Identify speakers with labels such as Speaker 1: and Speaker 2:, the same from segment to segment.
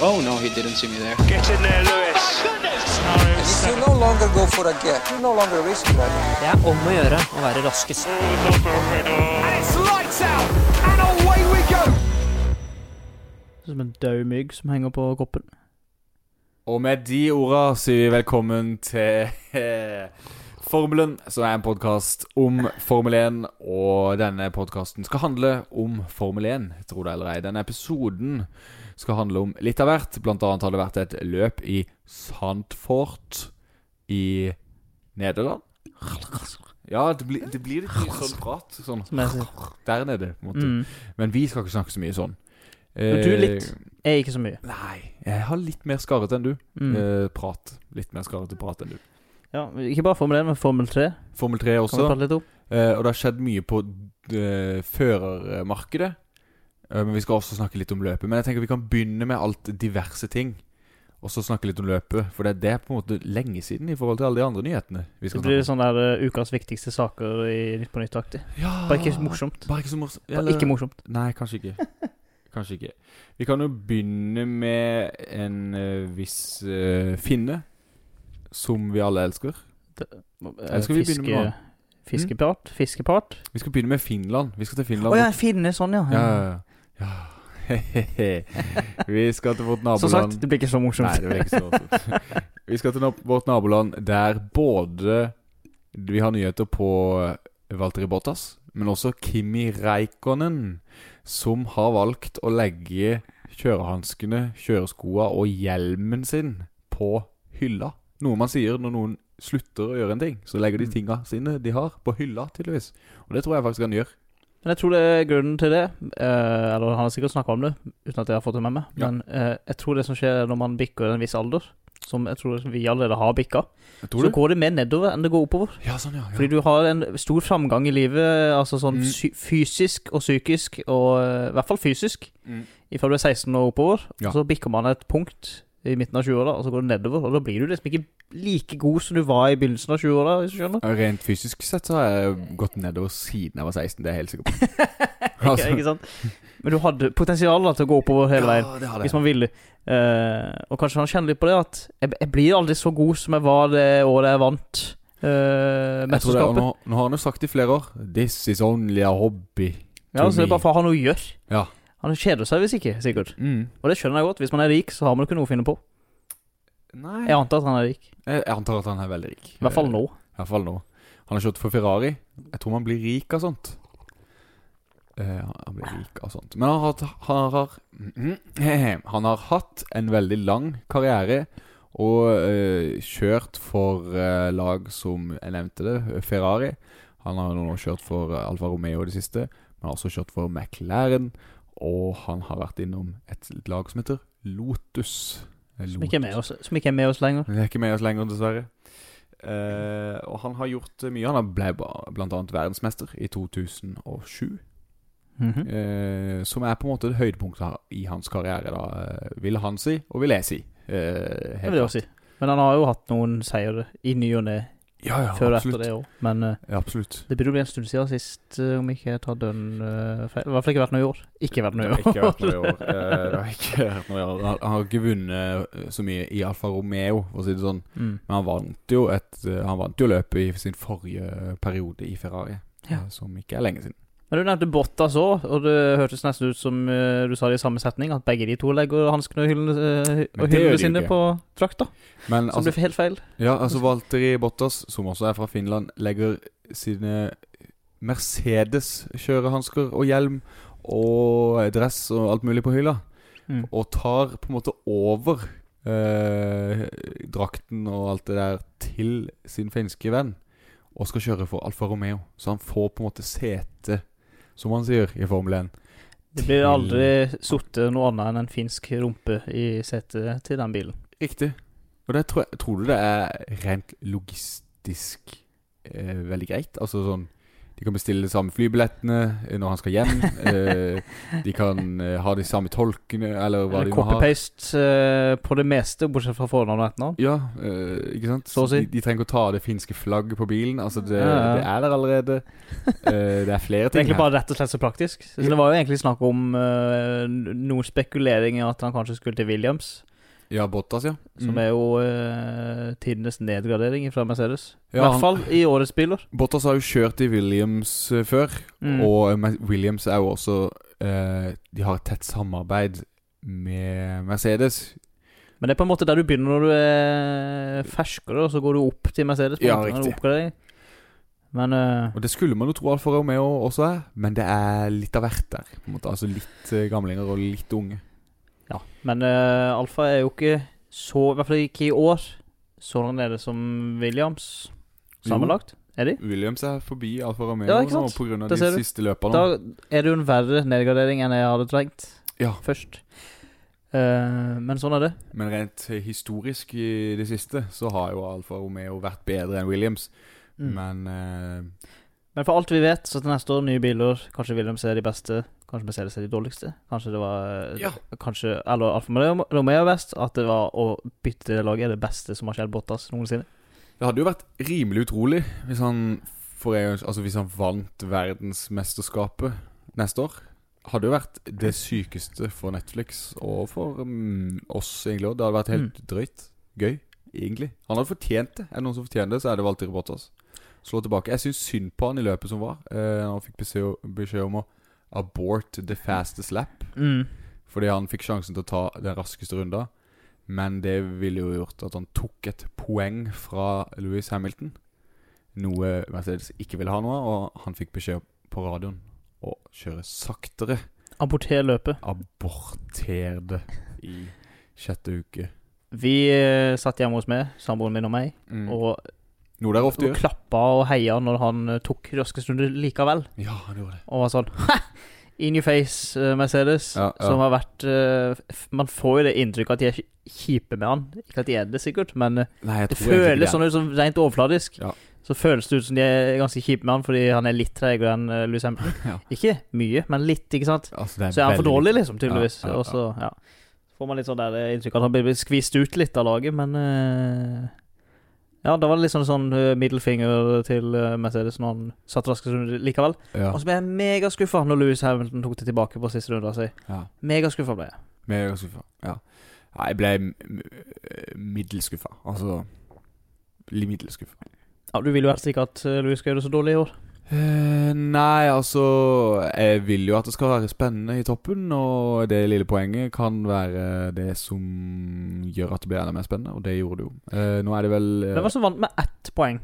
Speaker 1: Oh no, he didn't see me there.
Speaker 2: Get in there, Lewis.
Speaker 3: If you no longer go for a gap, you no longer risk that.
Speaker 4: Det er om å gjøre å være raskest.
Speaker 5: Som en død mygg som henger på koppen.
Speaker 6: Og med de orda sier vi velkommen til Formelen, som er en podkast om Formel 1. Og denne podkasten skal handle om Formel 1, tro det eller ei. Denne episoden skal handle om litt av hvert. Blant annet har det vært et løp i Sandfort i Nederland. Ja, det, blir- det blir litt mye sånn prat. Sånn
Speaker 5: Som jeg sier.
Speaker 6: der nede, på en måte.
Speaker 5: Mm.
Speaker 6: Men vi skal ikke snakke så mye sånn.
Speaker 5: Men du litt. Jeg er ikke så mye.
Speaker 6: Nei, jeg har litt mer skarrete enn du.
Speaker 5: Mm.
Speaker 6: Eh, prat. Litt mer skarrete prat enn du.
Speaker 5: Ja, ikke bare Formel 1, men Formel 3.
Speaker 6: Formel 3
Speaker 5: Kan vi
Speaker 6: også.
Speaker 5: prate litt om?
Speaker 6: Eh, og det har skjedd mye på eh, førermarkedet. Eh, men vi skal også snakke litt om løpet. Men jeg tenker vi kan begynne med alt diverse ting. Og så snakke litt om løpet. For det, det er på en måte lenge siden i forhold til alle de andre nyhetene. Vi
Speaker 5: Det
Speaker 6: skal
Speaker 5: blir
Speaker 6: snakke om.
Speaker 5: sånn der eh, ukas viktigste saker i Nytt på nytt-aktig.
Speaker 6: ja,
Speaker 5: Bare ikke morsomt.
Speaker 6: Bare ikke så morsomt.
Speaker 5: Bare
Speaker 6: Ah. Eller-
Speaker 5: ikke morsomt.
Speaker 6: Nei, kanskje ikke. Kanskje ikke. Vi kan jo begynne med en eh, viss eh, finne. Som vi alle elsker.
Speaker 5: Eh,
Speaker 6: skal vi begynne med noe? Hmm?
Speaker 5: Fiskepart? Fiskepart?
Speaker 6: Vi skal begynne med Finland. Vi skal til
Speaker 5: Å
Speaker 6: Finland.
Speaker 5: ja, finne sånn, ja.
Speaker 6: Ja, ja, ja. ja. Hehehe. vi skal til vårt naboland
Speaker 5: Som sagt, det blir ikke så morsomt.
Speaker 6: Nei, det blir ikke så morsomt. vi skal til nab- vårt naboland der både vi har nyheter på eh, Valtteri Bottas, men også Kimi Reikonen, som har valgt å legge kjørehanskene, kjøreskoa og hjelmen sin på hylla. Noe man sier når noen slutter å gjøre en ting, så legger de tinga sine de har, på hylla, tydeligvis. Og det tror jeg faktisk han gjør.
Speaker 5: Men jeg tror det er grunnen til det. eh, eller han har sikkert snakka om det, uten at jeg har fått det med meg.
Speaker 6: Ja.
Speaker 5: Men eh, jeg tror det som skjer når man bikker en viss alder, som jeg tror vi allerede har bikka, så går det mer nedover enn det går oppover.
Speaker 6: Ja, sånn, ja. ja.
Speaker 5: Fordi du har en stor framgang i livet, altså sånn
Speaker 6: Mm.
Speaker 5: sy fysisk og psykisk, og eh, i hvert fall fysisk,
Speaker 6: Mm.
Speaker 5: ifra du er 16 og oppover.
Speaker 6: Ja.
Speaker 5: Og så bikker man et punkt i midten av 20-åra, og så går det nedover. Og da blir du liksom ikke like god som du var i begynnelsen av 20-åra, hvis du skjønner.
Speaker 6: Rent fysisk sett så har jeg gått nedover siden jeg var 16, det er jeg helt sikker på. Altså,
Speaker 5: Ikke, ikke sant? Men du hadde potensial da, til å gå oppover hele veien.
Speaker 6: Ja, det har
Speaker 5: Hvis
Speaker 6: jeg.
Speaker 5: man ville. Eh, og kanskje han kjenner litt på det at jeg, jeg blir aldri så god som jeg var det året jeg vant eh,
Speaker 6: Jeg tror det, og
Speaker 5: mesterskapet.
Speaker 6: nå, nå har han jo sagt i flere år 'This is only a hobby'.
Speaker 5: Ja, så det er bare for å ha noe å gjøre.
Speaker 6: Ja.
Speaker 5: Han kjeder seg hvis ikke, sikkert.
Speaker 6: Mm.
Speaker 5: Og det skjønner jeg godt. Hvis man er rik, så har man ikke noe å finne på.
Speaker 6: Nei
Speaker 5: Jeg antar at han er rik.
Speaker 6: Jeg jeg antar at han er veldig rik.
Speaker 5: I hvert fall nå.
Speaker 6: I hvert fall nå. Han har kjørt for Ferrari. Jeg tror man blir rik av sånt. Eh, han han blir rik av sånt. Men han har, hatt- han har, han har hatt en veldig lang karriere. Og eh, kjørt for eh, lag som jeg nevnte det, Ferrari. Han har jo nå kjørt for eh, Alfa Romeo i det siste. Men har også kjørt for McLaren. Og han har vært innom et lag som heter Lotus.
Speaker 5: Som ikke er med oss, som ikke er med oss lenger.
Speaker 6: vi er ikke med oss lenger, dessverre. Eh, og han har gjort eh, mye. Han har ble ba- blant annet verdensmester i 2007.
Speaker 5: Mhm.
Speaker 6: eh, som er på en måte det høydepunktet ha- i hans karriere, da, eh, vil han si, og vil jeg si. Eh,
Speaker 5: Det
Speaker 6: helt
Speaker 5: vil jeg
Speaker 6: klart.
Speaker 5: også si. Men han har jo hatt noen seire i ny og ne
Speaker 6: Ja, ja,
Speaker 5: før og
Speaker 6: absolutt.
Speaker 5: etter det òg. Men eh,
Speaker 6: Ja, absolutt.
Speaker 5: det burde bli en stund siden sist, eh, om ikke jeg tar dønn eh, feil. I hvert fall ikke vært noe i år. Ikke vært noe i
Speaker 6: Det
Speaker 5: år.
Speaker 6: har ikke vært noe i år. Eh, det har ikke vært noe i år. Han han har ikke vunnet eh, så mye i Alfa Romeo, for å si det sånn.
Speaker 5: Mm.
Speaker 6: Men han vant jo, et, eh, han vant jo løpet i sin forrige periode i Ferrari,
Speaker 5: Ja.
Speaker 6: eh, som ikke er lenge siden.
Speaker 5: Men du nevnte Bottas òg, og det hørtes nesten ut som eh, du sa det i samme setning, at begge de to legger hanskene og hyllene, eh,
Speaker 6: Men
Speaker 5: og hyllene
Speaker 6: det gjør de jo
Speaker 5: sine
Speaker 6: ikke.
Speaker 5: på drakta.
Speaker 6: Men, altså,
Speaker 5: Så det blir helt feil.
Speaker 6: Ja, altså Valtteri Bottas, som også er fra Finland, legger sine Mercedes-kjørehansker og hjelm og dress og alt mulig på hylla.
Speaker 5: Mm.
Speaker 6: Og tar på en måte over eh, drakten og alt det der til sin finske venn. Og skal kjøre for Alfa Romeo. Så han får på en måte sete, som han sier i Formel 1.
Speaker 5: Det blir aldri sittet noe annet enn en finsk rumpe i setet til den bilen.
Speaker 6: Riktig. Og det tror, jeg, tror du det er rent logistisk eh, veldig greit? Altså sånn De kan bestille de samme flybillettene eh, når han skal hjem. eh, de kan eh, ha de samme tolkene, eller hva de må ha.
Speaker 5: Copy-paste eh, på det meste, bortsett fra fornavn og etternavn.
Speaker 6: Ja, eh, ikke sant?
Speaker 5: Så å si.
Speaker 6: De, de trenger ikke å ta det finske flagget på bilen. Altså, det,
Speaker 5: Ja, ja.
Speaker 6: det er der allerede. Eh, det er flere
Speaker 5: Det er
Speaker 6: ting
Speaker 5: egentlig
Speaker 6: her.
Speaker 5: bare rett og slett så praktisk. Så Det var jo egentlig snakk om eh, noe spekulering i at han kanskje skulle til Williams,
Speaker 6: Ja, Bottas, ja.
Speaker 5: som
Speaker 6: Mm.
Speaker 5: er jo eh, tidenes nedgradering fra Mercedes. I
Speaker 6: Ja,
Speaker 5: hvert
Speaker 6: han,
Speaker 5: fall i årets biler.
Speaker 6: Bottas har jo kjørt i Williams eh, før,
Speaker 5: Mm.
Speaker 6: og eh, men Williams er jo også eh, De har et tett samarbeid med Mercedes.
Speaker 5: Men det er på en måte der du begynner når du er ferskere, og så går du opp til Mercedes. på en
Speaker 6: Ja,
Speaker 5: måte, når du
Speaker 6: riktig.
Speaker 5: oppgraderer. Men eh,
Speaker 6: Og det skulle man jo tro Alfa Romeo også er, men det er litt av hvert der. På en måte. Altså litt eh, gamlinger og litt unge.
Speaker 5: Ja, men eh, Alfa er jo ikke så I hvert fall ikke i år så annerledes som Williams sammenlagt. Er de?
Speaker 6: Williams er forbi Alfa Romeo
Speaker 5: Ja, ikke
Speaker 6: nå
Speaker 5: sant?
Speaker 6: pga.
Speaker 5: Det
Speaker 6: de
Speaker 5: ser du.
Speaker 6: siste løperne.
Speaker 5: Da er det jo en verre nedgradering enn jeg hadde trengt
Speaker 6: Ja.
Speaker 5: først. Eh, men sånn er det.
Speaker 6: Men rent eh, historisk i det siste så har jo Alfa Romeo vært bedre enn Williams.
Speaker 5: Mm.
Speaker 6: Men eh,
Speaker 5: Men for alt vi vet, så til neste år nye biler. Kanskje Williams er de beste. Kanskje Mercedes er de dårligste. Kanskje det var eh,
Speaker 6: Ja.
Speaker 5: Kanskje Eller Alfa Romeo Romeo er best. At det var å bytte det laget er det beste som har skjedd Bottas noensinne.
Speaker 6: det hadde jo vært rimelig utrolig hvis han, for en, gangs- altså hvis han vant verdensmesterskapet neste år. Hadde jo vært det sykeste for Netflix og for mm, oss, egentlig. også. Det hadde vært helt drøyt. Gøy, egentlig. Han hadde fortjent det. Er det noen som fortjener det, så er det Walter Bottas. Slå tilbake. Jeg syns synd på han i løpet som var. Eh, han fikk beskjed, beskjed om å abort the fastest lap. Mm. Fordi han fikk sjansen til å ta den raskeste runda. Men det ville jo gjort at han tok et poeng fra Louis Hamilton. Noe Mercedes ikke ville ha noe av, og han fikk beskjed på radioen å kjøre saktere.
Speaker 5: Aborter løpet.
Speaker 6: Aborter det i sjette uke.
Speaker 5: Vi eh, satt hjemme hos meg, samboeren min og meg,
Speaker 6: Mm.
Speaker 5: og
Speaker 6: Noe dere ofte
Speaker 5: og
Speaker 6: gjør.
Speaker 5: klappa og heia når han eh, tok raskest runde likevel.
Speaker 6: Ja, han gjorde det.
Speaker 5: Og var sånn «Ha! In your face, eh, Mercedes.
Speaker 6: Ja, ja.
Speaker 5: Som har vært eh, f- Man får jo det inntrykket at de er kjipe med han. Ikke at de er det, sikkert, men eh,
Speaker 6: Nei, jeg
Speaker 5: det
Speaker 6: tror egentlig
Speaker 5: føles
Speaker 6: ikke
Speaker 5: sånn ut som rent overfladisk.
Speaker 6: Ja.
Speaker 5: Så føles det ut som de er ganske kjipe med han fordi han er litt treigere enn uh, Louis Hampton.
Speaker 6: Ja.
Speaker 5: Ikke mye, men litt, ikke sant.
Speaker 6: Altså, det
Speaker 5: Så er han for
Speaker 6: veldig-
Speaker 5: dårlig, liksom, tydeligvis.
Speaker 6: Ja, ja, ja.
Speaker 5: Og så ja. får man litt sånn der eh, inntrykk at han blir skvist ut litt av laget, men eh, Ja, da var det litt sånn, sånn eh, middelfinger til eh, Mercedes når han satt raskest runde likevel.
Speaker 6: Ja,
Speaker 5: Og så ble jeg megaskuffa når Louis Hamilton tok det tilbake på siste runde. Altså.
Speaker 6: ja.
Speaker 5: Megaskuffa ble jeg.
Speaker 6: Men jeg er skuffa. Ja. Nei, jeg ble m- m- middels skuffa. Altså Litt middels skuffa.
Speaker 5: Ja, Du vil jo helst ikke at eh, Louis skal gjøre det så dårlig i år.
Speaker 6: Eh, nei, altså Jeg vil jo at det skal være spennende i toppen, og det lille poenget kan være det som gjør at det blir enda mer spennende, og det gjorde det jo. Eh, nå er det vel eh,
Speaker 5: Hvem var det som vant med ett poeng?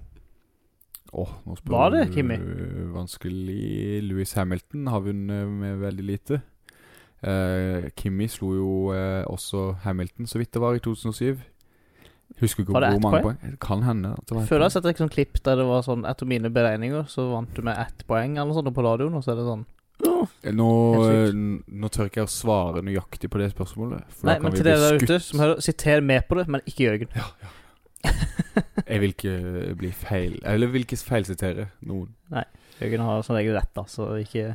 Speaker 6: Åh, nå spør
Speaker 5: Var det,
Speaker 6: du
Speaker 5: Kimi?
Speaker 6: Vanskelig. Louis Hamilton har vunnet med veldig lite. Eh, Kimi slo jo eh, også Hamilton, så vidt det var, i 2007. Husker ikke
Speaker 5: Var det
Speaker 6: hvor
Speaker 5: ett
Speaker 6: mange
Speaker 5: poeng?
Speaker 6: poeng. Det kan hende. at det var ett
Speaker 5: Før har
Speaker 6: poeng.
Speaker 5: jeg sett et sånt klipp der det var sånn etter mine beregninger så vant du med ett poeng eller noe sånt og på radioen, og så er det sånn
Speaker 6: Eh, Nå,
Speaker 5: Helt sykt.
Speaker 6: n- nå tør ikke jeg å svare nøyaktig på det spørsmålet. For
Speaker 5: Nei,
Speaker 6: da kan
Speaker 5: men
Speaker 6: vi
Speaker 5: til
Speaker 6: bli
Speaker 5: dere der
Speaker 6: skutt.
Speaker 5: ute som hører, siter med på det, men ikke Jørgen.
Speaker 6: Jeg vil ikke eh, bli feil Eller vil ikke feilsitere noen.
Speaker 5: Jørgen har som regel rett, da, så ikke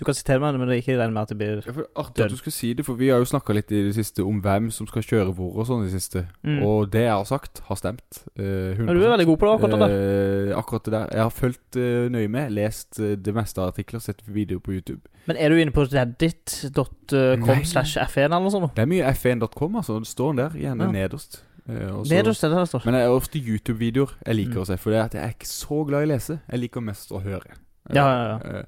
Speaker 5: Du kan sitere meg, men det er ikke regn med at det blir
Speaker 6: Ja, for artig at du skal si det, for vi har jo snakka litt i det siste om hvem som skal kjøre hvor og sånn i det siste.
Speaker 5: Mm.
Speaker 6: Og det jeg har sagt, har stemt. eh,
Speaker 5: Men du er veldig god på det akkurat der.
Speaker 6: Eh, akkurat det der. Jeg har fulgt eh, nøye med, lest eh, det meste av artikler, sett videoer på YouTube.
Speaker 5: Men er du inne på reddit.com
Speaker 6: Nei.
Speaker 5: slash f1 eller noe sånt?
Speaker 6: Det er mye f1.com, altså. Det står den der, gjerne
Speaker 5: Ja.
Speaker 6: nederst. Eh, og så-
Speaker 5: Nederst er det der det står.
Speaker 6: Men det er ofte YouTube-videoer jeg liker
Speaker 5: Mm.
Speaker 6: å se, for det er at jeg er ikke så glad i å lese. Jeg liker mest å høre. Eh,
Speaker 5: Ja, ja, ja.
Speaker 6: eh,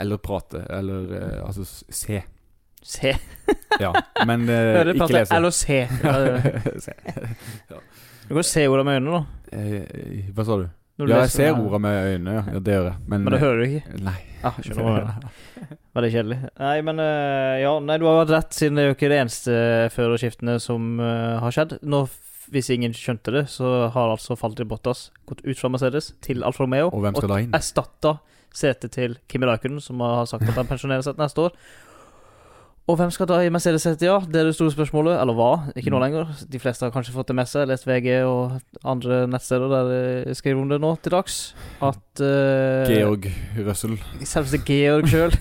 Speaker 6: Eller prate, eller eh, altså s- se.
Speaker 5: Se.
Speaker 6: Ja, men eh,
Speaker 5: Hører
Speaker 6: ikke
Speaker 5: prater
Speaker 6: lese.
Speaker 5: Eller se. Ja, det er det.
Speaker 6: Se.
Speaker 5: Du kan jo se orda med øynene, da.
Speaker 6: Eh, Hva sa du?
Speaker 5: når du
Speaker 6: Ja, jeg
Speaker 5: leser
Speaker 6: ser
Speaker 5: det.
Speaker 6: ordene med øynene, ja. ja det gjør jeg. Men, eh,
Speaker 5: Men det hører du ikke.
Speaker 6: Nei.
Speaker 5: Ah, skjønner hva jeg mener. Veldig kjedelig. Nei, men eh, ja, nei, du har jo hatt rett, siden det er jo ikke det eneste førerskiftene som eh, har skjedd. Nå, f- Hvis ingen skjønte det, så har altså Falter Bottas gått ut fra Mercedes til Alfa Romeo.
Speaker 6: Og hvem skal da inn?
Speaker 5: erstatta setet til Kimi Raikkonen, som har sagt at han pensjonerer seg til neste år. Og hvem skal ta i Mercedes CTA? Det er det store spørsmålet. Eller hva? Ikke
Speaker 6: Mm.
Speaker 5: nå lenger. De fleste har kanskje fått det med seg, lest VG og andre nettsteder der de skriver om det nå til dags, at eh,
Speaker 6: Georg Russell.
Speaker 5: Selveste Georg sjøl.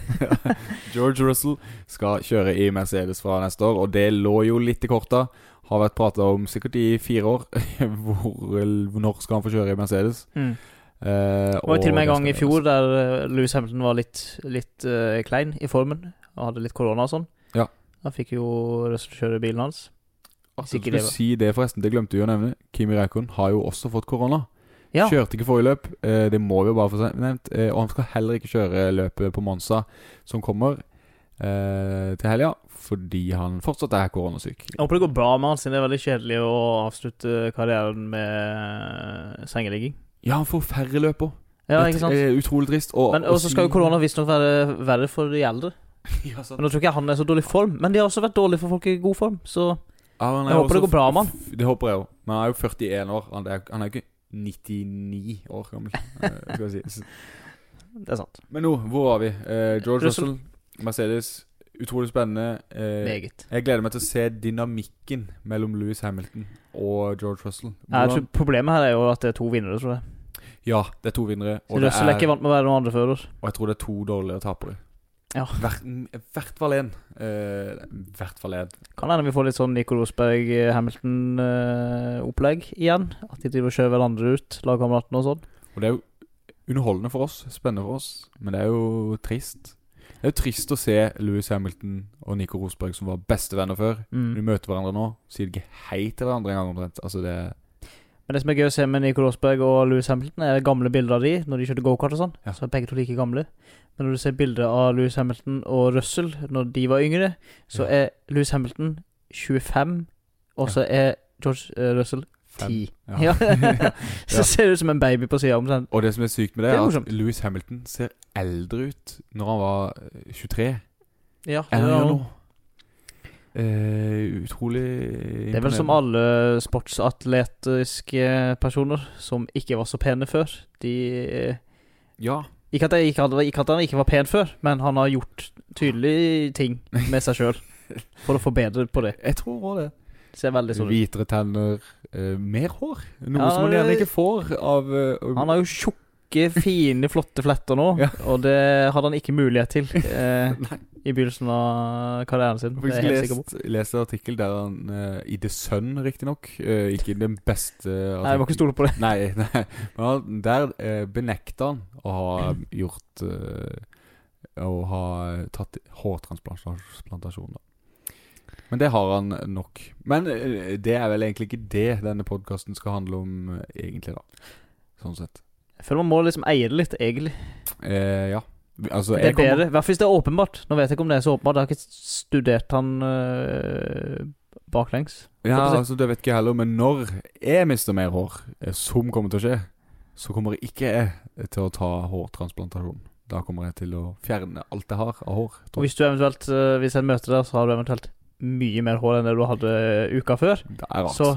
Speaker 6: George Russell skal kjøre i Mercedes fra neste år, og det lå jo litt i korta. Har vært prata om sikkert i fire år. Hvor, eh, når skal han få kjøre i Mercedes?
Speaker 5: Mm.
Speaker 6: Eh,
Speaker 5: Det var jo til og med en
Speaker 6: det
Speaker 5: gang i
Speaker 6: skal
Speaker 5: fjor
Speaker 6: gjøres.
Speaker 5: der eh, Lewis Hamilton var litt, litt eh, klein i formen. Og hadde litt korona og sånn.
Speaker 6: Ja.
Speaker 5: Da fikk jo Russell kjøre bilen hans.
Speaker 6: At
Speaker 5: sikkert
Speaker 6: Jeg
Speaker 5: det var-
Speaker 6: skulle si Altså, det, forresten. Det glemte vi å nevne. Kimi Rækon har jo også fått korona.
Speaker 5: Ja.
Speaker 6: Kjørte ikke forrige løp. Eh, det må vi jo bare få nevnt. Eh, og han skal heller ikke kjøre løpet på Monza som kommer eh, til helga, fordi han fortsatt er koronasyk.
Speaker 5: Jeg håper det går bra med han, siden det er veldig kjedelig å avslutte karrieren med eh, sengeligging.
Speaker 6: Ja, han får færre løp òg.
Speaker 5: Ja, ikke sant?
Speaker 6: eh, Utrolig trist. Og
Speaker 5: Men også skal jo korona visstnok være verre for de eldre.
Speaker 6: ja, sant.
Speaker 5: Men Nå tror ikke jeg han er så dårlig i form, men de har også vært dårlige for folk i god form. Så
Speaker 6: Ja, han er
Speaker 5: Jeg håper det
Speaker 6: også
Speaker 5: går bra med han.
Speaker 6: f- Det håper jeg òg. Men han er jo 41 år. Han er, han er jo ikke 99 år gammel, eh, skal jeg si.
Speaker 5: det er sant.
Speaker 6: Men nå, hvor var vi? Eh, George
Speaker 5: Russell.
Speaker 6: Russell, Mercedes. Utrolig spennende. Eh,
Speaker 5: Meget.
Speaker 6: jeg gleder meg til å se dynamikken mellom Louis Hamilton og George Russell.
Speaker 5: Jeg tror
Speaker 6: Hvordan-
Speaker 5: problemet her er jo at det er to vinnere, tror jeg.
Speaker 6: Ja, det er to vinnere, og, det
Speaker 5: Russell er ikke
Speaker 6: er,
Speaker 5: vant med å være noen andre fører.
Speaker 6: og jeg tror det er to dårligere tapere.
Speaker 5: Ja.
Speaker 6: Hvert- I hvert fall én. Eh, I hvert fall én.
Speaker 5: Kan hende vi får litt sånn Nico Rosberg-Hamilton-opplegg eh, igjen. At de driver og kjører hverandre ut, lagkameratene og sånn.
Speaker 6: Og det er jo underholdende for oss, spennende for oss, men det er jo trist. Det er jo trist å se Louis Hamilton og Nico Rosberg, som var bestevenner før. De
Speaker 5: Mm.
Speaker 6: møter hverandre nå, sier ikke hei til hverandre engang omtrent. Altså, det
Speaker 5: Men det som er gøy å se med Nico Rosberg og Louis Hamilton, er gamle bilder av de når de kjørte gokart og sånn.
Speaker 6: Ja.
Speaker 5: Så er begge to like gamle. Men når du ser bilder av Louis Hamilton og Russell når de var yngre, så
Speaker 6: Ja.
Speaker 5: er Louis Hamilton 25, og så er George eh, Russell 10. Ja. så ser det ut som en baby på sida omtrent.
Speaker 6: Og det som er sykt med det,
Speaker 5: Det er
Speaker 6: er,
Speaker 5: morsomt.
Speaker 6: at Louis Hamilton ser eldre ut når han var eh, 23
Speaker 5: Ja,
Speaker 6: enn han
Speaker 5: ja.
Speaker 6: gjør nå. Eh, utrolig
Speaker 5: Det er vel som alle sportsatletiske personer som ikke var så pene før. De eh,
Speaker 6: Ja.
Speaker 5: ikke at, jeg, ikke, at, ikke at han ikke var pen før, men han har gjort tydelige ting med seg sjøl for å forbedre på det.
Speaker 6: Jeg tror òg det.
Speaker 5: Det Ser veldig sånn ut.
Speaker 6: Hvitere tenner, eh, mer hår. Noe
Speaker 5: Ja,
Speaker 6: som man gjerne
Speaker 5: det-
Speaker 6: ikke får av eh,
Speaker 5: Han har jo tjukke, fine, flotte fletter nå,
Speaker 6: Ja.
Speaker 5: og det hadde han ikke mulighet til eh,
Speaker 6: Nei.
Speaker 5: i begynnelsen av karrieren sin.
Speaker 6: Jeg
Speaker 5: Det
Speaker 6: har
Speaker 5: er jeg helt
Speaker 6: faktisk
Speaker 5: sikker på.
Speaker 6: lest, lest en artikkel der han eh, I The Sun, riktignok. Uh, ikke i den beste
Speaker 5: Nei, jeg må ikke
Speaker 6: artikkelen.
Speaker 5: stole på det.
Speaker 6: Nei, nei. Men han, der eh, benekter han å ha gjort eh, Å ha tatt hårtransplantasjon, da. Men det har han nok. Men eh, det er vel egentlig ikke det denne podkasten skal handle om, eh, egentlig, da. Sånn sett.
Speaker 5: Jeg føler man må liksom eie det litt, egentlig.
Speaker 6: Eh, ja. Altså,
Speaker 5: Det
Speaker 6: jeg
Speaker 5: er
Speaker 6: kommer-
Speaker 5: bedre. I hvert fall hvis det er åpenbart. Nå vet jeg ikke om det er så åpenbart. Jeg har ikke studert han øh, baklengs.
Speaker 6: Ja,
Speaker 5: Håper jeg.
Speaker 6: altså Det vet ikke jeg heller, men når jeg mister mer hår, eh, som kommer til å skje, så kommer ikke jeg eh, til å ta hårtransplantasjon. Da kommer jeg til å fjerne alt jeg har av hår.
Speaker 5: Og hvis du eventuelt øh, Hvis jeg møter deg, så har du eventuelt mye mer hår enn det du hadde uka før,
Speaker 6: Det er rart.
Speaker 5: så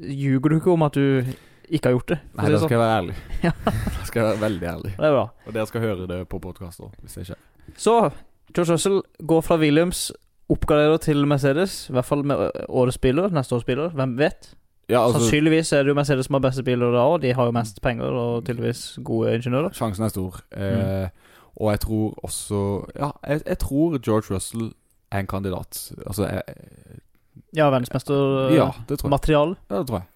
Speaker 5: ljuger du ikke om at du ikke har gjort det. for å
Speaker 6: Nei,
Speaker 5: si
Speaker 6: da
Speaker 5: det
Speaker 6: skal
Speaker 5: sånn.
Speaker 6: jeg være ærlig.
Speaker 5: Ja.
Speaker 6: da skal jeg være veldig ærlig.
Speaker 5: Det er bra.
Speaker 6: Og dere skal høre det på podkast òg, hvis det skjer.
Speaker 5: Så George Russell går fra Williams, oppgraderer til Mercedes. I hvert fall med øh, årets spiller, neste års spiller. Hvem vet?
Speaker 6: Ja, altså,
Speaker 5: Sannsynligvis er det jo Mercedes som har beste biler da òg. De har jo mest penger og tydeligvis gode ingeniører.
Speaker 6: sjansen er stor.
Speaker 5: Mm.
Speaker 6: Eh, Og jeg tror også Ja, jeg, jeg tror George Russell er en kandidat. Altså jeg,
Speaker 5: Ja, verdensmestermateriale.
Speaker 6: Ja, det tror jeg. Ja, det tror jeg.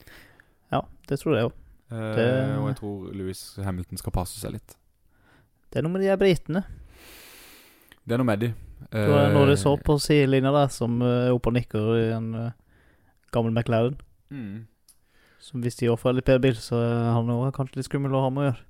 Speaker 5: Ja, det tror jeg òg.
Speaker 6: Eh,
Speaker 5: Det-
Speaker 6: Og jeg tror Louis Hamilton skal passe seg litt.
Speaker 5: Det er noe med de her britene.
Speaker 6: Det er noe med de.
Speaker 5: Det var
Speaker 6: Eh,
Speaker 5: noe de så på sidelinja der, som eh, er oppe og nikker i en eh, gammel McLaren.
Speaker 6: Mm.
Speaker 5: Som hvis de også får litt bedre bil, så er han også kanskje litt skummel å ha med å gjøre.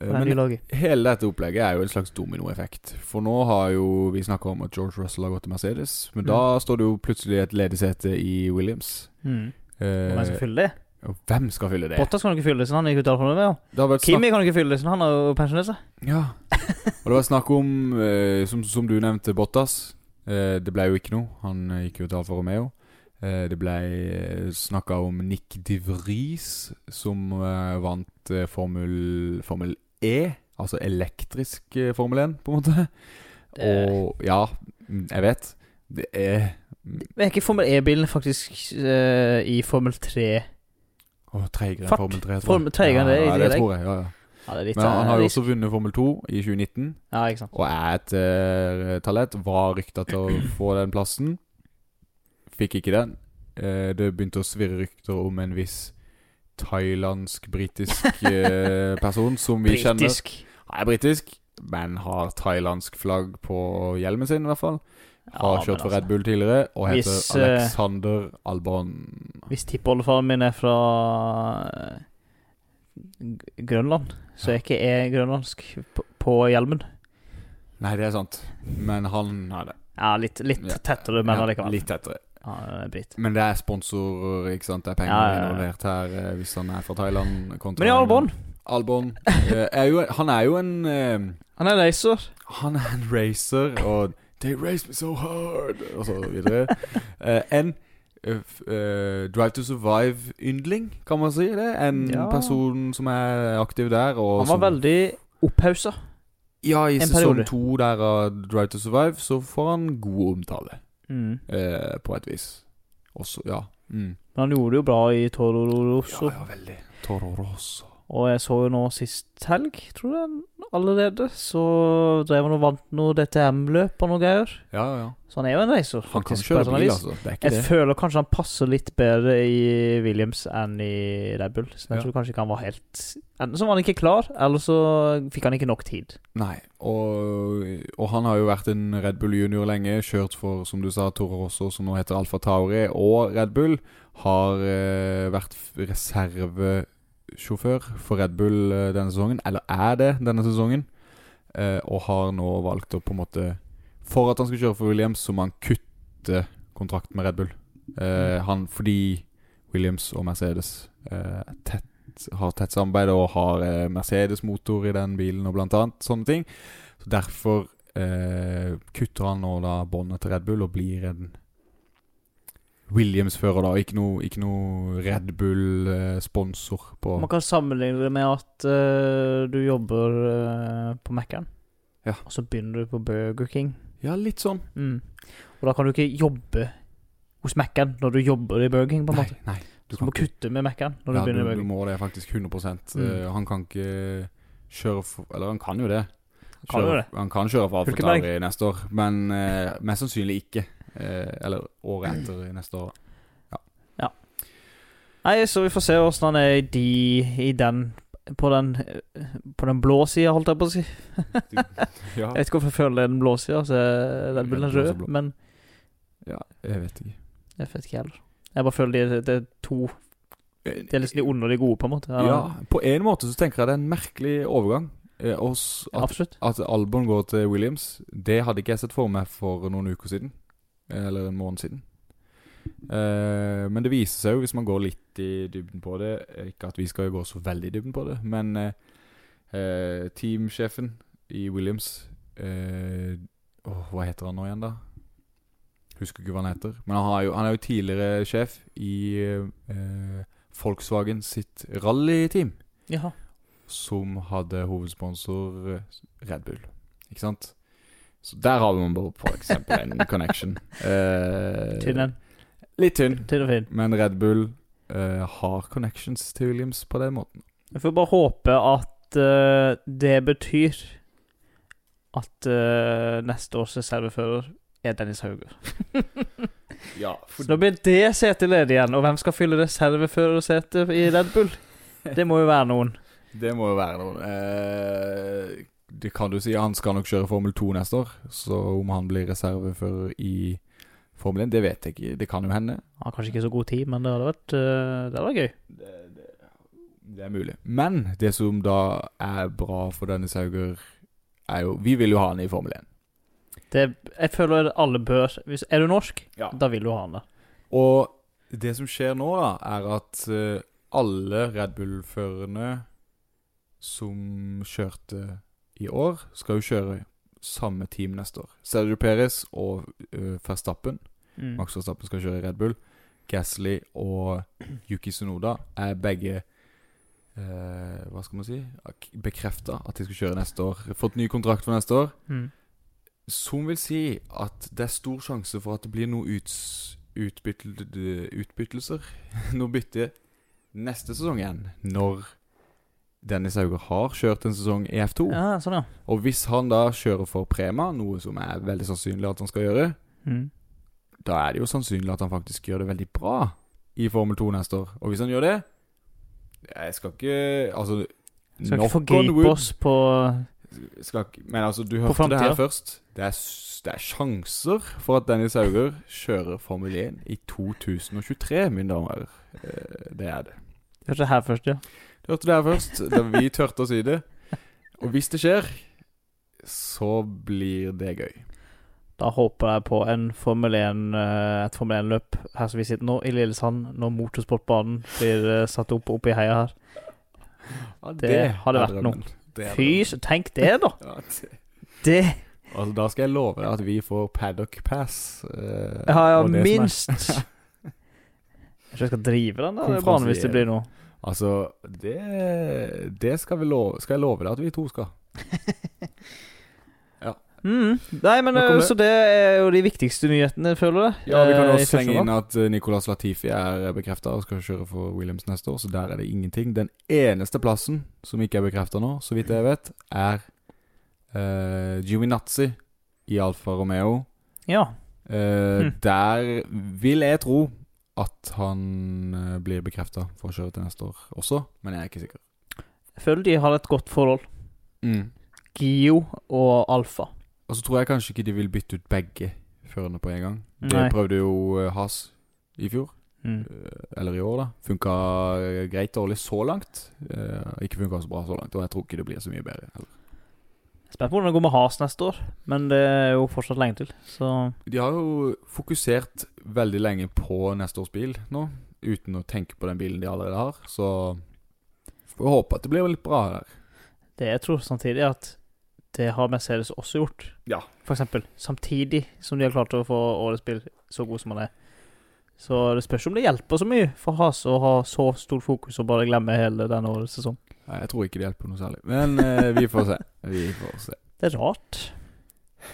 Speaker 6: Eh,
Speaker 5: for det nye
Speaker 6: Men
Speaker 5: laget.
Speaker 6: hele dette opplegget er jo en slags dominoeffekt. For nå har jo vi snakka om at George Russell har gått til Mercedes, men
Speaker 5: Mm.
Speaker 6: da står det jo plutselig et ledig sete i Williams.
Speaker 5: Mm.
Speaker 6: Eh,
Speaker 5: Og hvem skal fylle det?
Speaker 6: og hvem skal fylle det?
Speaker 5: Bottas kan jo ikke fylle det, siden han gikk ut av Alfa Romeo.
Speaker 6: Det har vært snakk,
Speaker 5: Kimi kan jo ikke fylle det, siden han har jo pensjonert seg.
Speaker 6: ja. Og det var snakk om, eh, som, som du nevnte, Bottas. Eh, det ble jo ikke noe. Han eh, gikk jo til Alfa Romeo. Eh, det ble eh, snakka om Nick de Vries, som eh, vant eh, Formel, Formel E. Altså elektrisk eh, Formel 1, på en måte.
Speaker 5: Det-
Speaker 6: Og ja, Mm, Jeg vet. Det er
Speaker 5: Men Er ikke Formel E-bilen faktisk eh, i Formel 3?
Speaker 6: Å, treigere enn
Speaker 5: Fart.
Speaker 6: Formel 3. tror jeg.
Speaker 5: Formel- treigere enn det,
Speaker 6: ja,
Speaker 5: i
Speaker 6: ja, det
Speaker 5: tillegg.
Speaker 6: tror jeg. Ja, ja.
Speaker 5: Ja, det er litt
Speaker 6: Men han har
Speaker 5: eh,
Speaker 6: jo også vunnet Formel 2 i 2019,
Speaker 5: Ja, ikke sant.
Speaker 6: og er et eh, talent. Var rykta til å få den plassen. Fikk ikke den. Eh, det begynte å svirre rykter om en viss thailandsk-britisk eh, person som vi kjenner.
Speaker 5: Britisk.
Speaker 6: Han er britisk, men har thailandsk flagg på hjelmen sin, i hvert fall. Har
Speaker 5: Ja,
Speaker 6: kjørt
Speaker 5: men
Speaker 6: for
Speaker 5: altså,
Speaker 6: Red Bull tidligere og heter
Speaker 5: Hvis, eh,
Speaker 6: Alexander Albon.
Speaker 5: Hvis tippoldefaren min er fra eh, G- Grønland, så er ikke jeg grønlandsk på, på hjelmen.
Speaker 6: Nei, det er sant, men han er det.
Speaker 5: Ja, litt, litt
Speaker 6: Ja,
Speaker 5: tettere, men
Speaker 6: Ja,
Speaker 5: allikevel.
Speaker 6: Litt tettere.
Speaker 5: Ja, det er brit.
Speaker 6: Men det er sponsorer, ikke sant? Det er penger
Speaker 5: Ja, ja, ja.
Speaker 6: involvert her eh, hvis han er fra Thailand. kontra-
Speaker 5: Men ja, Albon.
Speaker 6: Albon eh, er jo, han er jo en eh,
Speaker 5: Han er racer.
Speaker 6: Han er en racer, og They race me so hard, og så videre. Eh, en eh, f- eh, Drive to Survive-yndling, kan man si det. En
Speaker 5: Ja.
Speaker 6: person som er aktiv der. Og
Speaker 5: Han var
Speaker 6: som,
Speaker 5: veldig opphausa.
Speaker 6: Ja, i
Speaker 5: en
Speaker 6: sesong
Speaker 5: periode.
Speaker 6: to der av Drive to Survive så får han god omtale,
Speaker 5: Mm.
Speaker 6: eh, på et vis. Også, ja. Mm.
Speaker 5: Men han gjorde det jo bra i Toro Rosso.
Speaker 6: Ja, ja, veldig. Toro Rosso.
Speaker 5: Og jeg så jo nå sist helg, tror jeg allerede, så drev han og vant noe DTM-løp og noe greier.
Speaker 6: Ja, ja.
Speaker 5: Så han er jo en racer.
Speaker 6: Han kan
Speaker 5: faktisk, på
Speaker 6: kjøre
Speaker 5: et eller annet
Speaker 6: bil,
Speaker 5: vis.
Speaker 6: altså. Det er ikke
Speaker 5: Jeg
Speaker 6: det.
Speaker 5: føler kanskje han passer litt bedre i Williams enn i Red Bull. Så jeg
Speaker 6: Ja.
Speaker 5: tror kanskje ikke han var helt Enten så var han ikke klar, eller så fikk han ikke nok tid.
Speaker 6: Nei. Og, og han har jo vært en Red Bull junior lenge. Kjørt for, som du sa, Toro Rosso, som nå heter Alfa Tauri, og Red Bull. Har eh, vært f- reservesjåfør for Red Bull eh, denne sesongen. Eller er det denne sesongen. Eh, og har nå valgt å på en måte For at han skal kjøre for Williams, så må han kutte kontrakten med Red Bull. Eh, han, fordi Williams og Mercedes eh, er tett har tett samarbeid og har eh, Mercedes-motor i den bilen og blant annet sånne ting. Så Derfor eh, kutter han nå da båndet til Red Bull og blir en Williams-fører, da. Ikke noe, ikke noe Red Bull-sponsor på
Speaker 5: Man kan sammenligne det med at eh, du jobber eh, på Mac-en,
Speaker 6: Ja.
Speaker 5: og så begynner du på Burger King.
Speaker 6: Ja, litt sånn.
Speaker 5: Mm. Og da kan du ikke jobbe hos Mac-en når du jobber i Burger King, på en
Speaker 6: Nei,
Speaker 5: måte.
Speaker 6: nei.
Speaker 5: Du må kutte med Mac-en når du
Speaker 6: ja,
Speaker 5: begynner i
Speaker 6: du,
Speaker 5: Burger
Speaker 6: du
Speaker 5: King.
Speaker 6: må det faktisk 100
Speaker 5: Mm.
Speaker 6: Eh, Han kan ikke kjøre for Eller han kan jo det.
Speaker 5: Kan
Speaker 6: Kjøre-
Speaker 5: jo det.
Speaker 6: Han kan kjøre for Alfa
Speaker 5: Hulkenberg.
Speaker 6: Tauri neste år, men eh, mest sannsynlig ikke. Eh, eller året etter i neste år.
Speaker 5: Nei, så vi får se åssen han er i de i den på den, på den blå sida, holdt jeg på å si.
Speaker 6: Ja.
Speaker 5: Jeg vet ikke hvorfor jeg føler det er den blå sida, så er Red Bull er
Speaker 6: Red Bull er så
Speaker 5: rød,
Speaker 6: blå.
Speaker 5: men
Speaker 6: Ja, jeg vet ikke.
Speaker 5: jeg vet ikke heller. Jeg bare føler de, det er to De er liksom de onde og de gode, på en måte.
Speaker 6: ja, på en måte så tenker jeg det er en merkelig overgang. Eh, og s- at,
Speaker 5: Absolutt.
Speaker 6: at Albon går til Williams, det hadde ikke jeg sett for meg for noen uker siden. Eller en måned siden. Eh, men det viser seg jo, hvis man går litt i dybden på det eh, Ikke at vi skal jo gå så veldig i dybden på det, men eh, eh, teamsjefen i Williams eh, åh, Hva heter han nå igjen, da? Husker ikke hva han heter. Men han, har jo, han er jo tidligere sjef i eh, Volkswagen sitt rallyteam
Speaker 5: Jaha.
Speaker 6: som hadde hovedsponsor eh, Red Bull. Ikke sant? Så der har man bare for eksempel en connection. Eh,
Speaker 5: Tynn en.
Speaker 6: Litt tynn.
Speaker 5: Tynn og fin.
Speaker 6: Men Red Bull eh, har connections til Williams på den måten.
Speaker 5: Jeg får bare håpe at eh, det betyr at eh, neste års reservefører er Dennis Hauger.
Speaker 6: Ja,
Speaker 5: Så nå blir det setet ledig igjen, og hvem skal fylle reserveførersetet i Red Bull? Det må jo være noen.
Speaker 6: det må jo være noe eh, Det kan du si. Han skal nok kjøre Formel 2 neste år. Så om han blir reservefører i Formel 1, det vet jeg ikke. Det kan jo hende.
Speaker 5: Han har kanskje ikke så god tid, men det hadde vært, eh, det hadde vært gøy.
Speaker 6: det, det, det er mulig. Men det som da er bra for Dennis Hauger, er jo Vi vil jo ha han i Formel 1.
Speaker 5: Det, jeg føler alle bør hvis, Er du norsk,
Speaker 6: Ja.
Speaker 5: da vil du ha han der.
Speaker 6: Og det som skjer nå, da, er at eh, alle Red Bull-førerne som kjørte i år, skal jo kjøre samme team neste år. Sergio Perez og eh, Verstappen
Speaker 5: Mm.
Speaker 6: Max Verstappen skal kjøre i Red Bull. Gasly og Yuki Sunoda er begge eh, Hva skal man si? Bekrefta at de skal kjøre neste år. Fått ny kontrakt for neste år.
Speaker 5: Mm.
Speaker 6: Som vil si at det er stor sjanse for at det blir noe uts, utbyttel- utbyttelser, noe bytte, neste sesong igjen. Når Dennis Hauger har kjørt en sesong i F2.
Speaker 5: Ja, sånn, ja.
Speaker 6: Og hvis han da kjører for Prema, noe som er veldig sannsynlig at han skal gjøre,
Speaker 5: Mm.
Speaker 6: da er det jo sannsynlig at han faktisk gjør det veldig bra i Formel 2 neste år. Og hvis han gjør det Jeg skal ikke Altså
Speaker 5: Skal ikke
Speaker 6: knock on
Speaker 5: forgripe
Speaker 6: wood,
Speaker 5: oss på
Speaker 6: Skal ikke, men altså, du hørte det
Speaker 5: fremtiden.
Speaker 6: her først. Det er, s- det er sjanser for at Dennis Hauger kjører Formel 1 i 2023, mine damer. Eh, Det er det.
Speaker 5: Hørte det her først, ja.
Speaker 6: Du hørte det her først. Da vi turte å si det. Og hvis det skjer, så blir det gøy.
Speaker 5: Da håper jeg på en Formel 1, eh, et Formel 1-løp her som vi sitter nå, i Lillesand, når motorsportbanen blir eh, satt opp oppe i heia her.
Speaker 6: Ja,
Speaker 5: Det hadde
Speaker 6: er
Speaker 5: vært
Speaker 6: drømmen.
Speaker 5: noe.
Speaker 6: Det er
Speaker 5: Fy,
Speaker 6: drømmen.
Speaker 5: så tenk det, da!
Speaker 6: Ja, det-
Speaker 5: Det
Speaker 6: Altså, da skal jeg love deg at vi får paddock pass. eh,
Speaker 5: har jeg
Speaker 6: og det som er-
Speaker 5: minst. Jeg tror jeg skal drive den der banen hvis det blir noe.
Speaker 6: Altså, det, det skal, vi love, skal jeg love deg at vi to skal.
Speaker 5: Mm. Nei, men
Speaker 6: Nå
Speaker 5: eh,
Speaker 6: kommer-
Speaker 5: Så det er jo de viktigste nyhetene, føler jeg.
Speaker 6: Ja, vi kan
Speaker 5: eh,
Speaker 6: også
Speaker 5: i første
Speaker 6: slenge inn
Speaker 5: omgang.
Speaker 6: at eh, Nicolas Latifi er bekrefta og skal kjøre for Williams neste år, så der er det ingenting. Den eneste plassen som ikke er bekrefta nå, så vidt jeg vet, er uh, Giovinazzi i Alfa Romeo.
Speaker 5: Ja.
Speaker 6: Eh,
Speaker 5: Hm.
Speaker 6: Der vil jeg tro at han eh, blir bekrefta for å kjøre til neste år også, men jeg er ikke sikker.
Speaker 5: Jeg føler de har et godt forhold.
Speaker 6: Mm.
Speaker 5: Gio og Alfa.
Speaker 6: Og så tror jeg kanskje ikke de vil bytte ut begge førerne på en gang. Det
Speaker 5: Nei.
Speaker 6: prøvde jo eh, Haas i fjor.
Speaker 5: Mm.
Speaker 6: Eh, Eller i år, da. Funka eh, greit dårlig så langt. Eh, ikke funka så bra så langt, og jeg tror ikke det blir så mye bedre. heller.
Speaker 5: Spent på hvordan det går med Has neste år, men det er jo fortsatt lenge til. Så
Speaker 6: De har jo fokusert veldig lenge på neste års bil nå, uten å tenke på den bilen de allerede har, så får vi håpe at det blir litt bra der.
Speaker 5: det jeg tror samtidig er at det har Mercedes også gjort.
Speaker 6: Ja.
Speaker 5: For eksempel. Samtidig som de har klart å få årets bil så god som den er. Så det spørs om det hjelper så mye for Has å ha så stort fokus og bare glemme hele denne årets sesong.
Speaker 6: Nei, Jeg tror ikke det hjelper noe særlig, men eh, vi får se. Vi får se.
Speaker 5: Det er rart.